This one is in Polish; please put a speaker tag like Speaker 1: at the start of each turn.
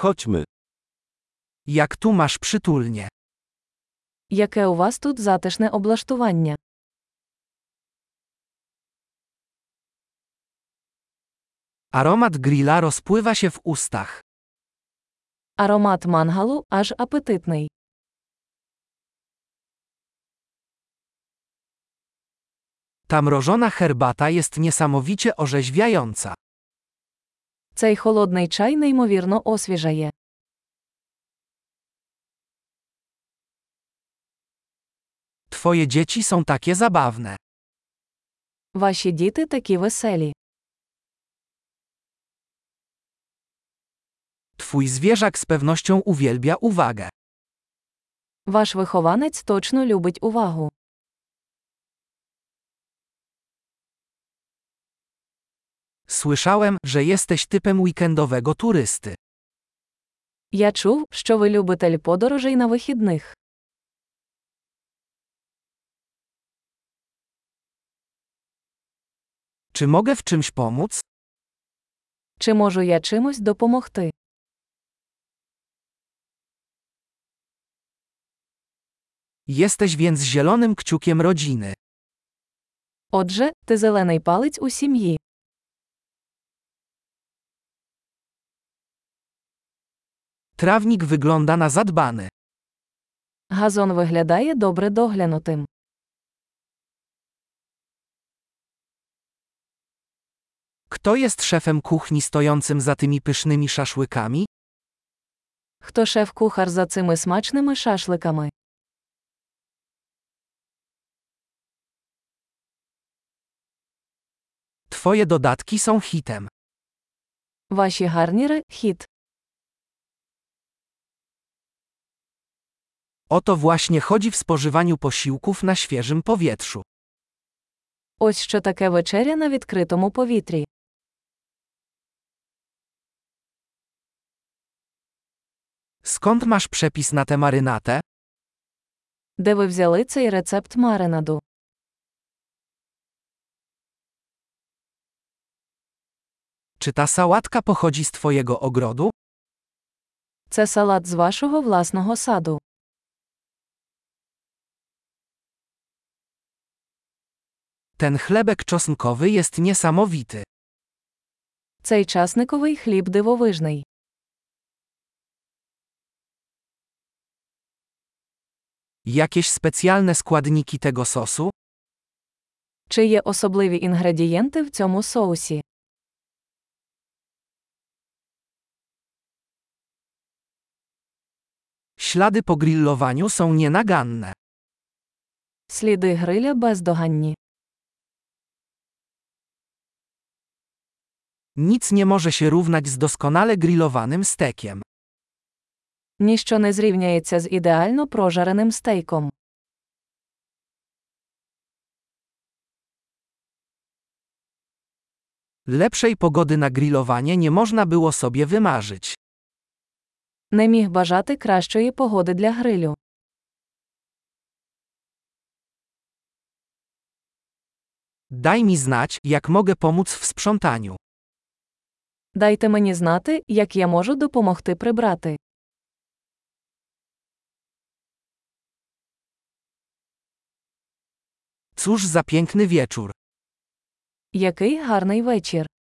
Speaker 1: Chodźmy. Jak tu masz przytulnie.
Speaker 2: Яке у вас тут затишне облаштування?
Speaker 1: Aromat grilla rozpływa się w ustach.
Speaker 2: Аромат мангалу аж апетитний.
Speaker 1: Ta mrożona herbata jest niesamowicie orzeźwiająca.
Speaker 2: Цей холодний чай неймовірно освіжає.
Speaker 1: Twoje dzieci są takie zabawne.
Speaker 2: Ваші діти такі веселі.
Speaker 1: Twój zwierzak z pewnością uwielbia uwagę.
Speaker 2: Ваш вихованець точно любить увагу.
Speaker 1: Słyszałem, że jesteś typem weekendowego turysty.
Speaker 2: Я чув, що ви любитель подорожей на вихідних.
Speaker 1: Czy mogę w czymś pomóc?
Speaker 2: Чи можу я чимось допомогти?
Speaker 1: Jesteś więc zielonym kciukiem rodziny.
Speaker 2: Отже, ти зелений палець у сім'ї.
Speaker 1: Trawnik wygląda na zadbany.
Speaker 2: Газон виглядає добре доглянутим.
Speaker 1: Kto jest szefem kuchni stojącym za tymi pysznymi szaszłykami?
Speaker 2: Хто шеф-кухар за цими смачними шашликами?
Speaker 1: Twoje dodatki są hitem.
Speaker 2: Ваші гарніри хіт.
Speaker 1: O to właśnie chodzi w spożywaniu posiłków na świeżym powietrzu.
Speaker 2: Ось що таке вечеря на відкритому повітрі.
Speaker 1: Skąd masz przepis na tę marynatę?
Speaker 2: Де ви взяли цей рецепт маринаду?
Speaker 1: Czy ta sałatka pochodzi z Twojego ogrodu?
Speaker 2: Це салат з вашого власного саду.
Speaker 1: Ten chlebek czosnkowy jest niesamowity.
Speaker 2: Цей часниковий хліб дивовижний.
Speaker 1: Jakieś specjalne składniki tego sosu?
Speaker 2: Чи є особливі інгредієнти в цьому соусі?
Speaker 1: Ślady po grillowaniu są nienaganne.
Speaker 2: Сліди гриля бездоганні.
Speaker 1: Nic nie może się równać z doskonale grillowanym stekiem.
Speaker 2: Ніщо не зрівняється з ідеально прожареним стейком.
Speaker 1: Lepszej pogody na grillowanie nie można było sobie wymarzyć.
Speaker 2: Не міг бажати кращої погоди для грилю.
Speaker 1: Daj mi znać, jak mogę pomóc w sprzątaniu.
Speaker 2: Дайте мені знати, як я можу допомогти прибрати.
Speaker 1: Cóż za piękny wieczór.
Speaker 2: Який гарний вечір!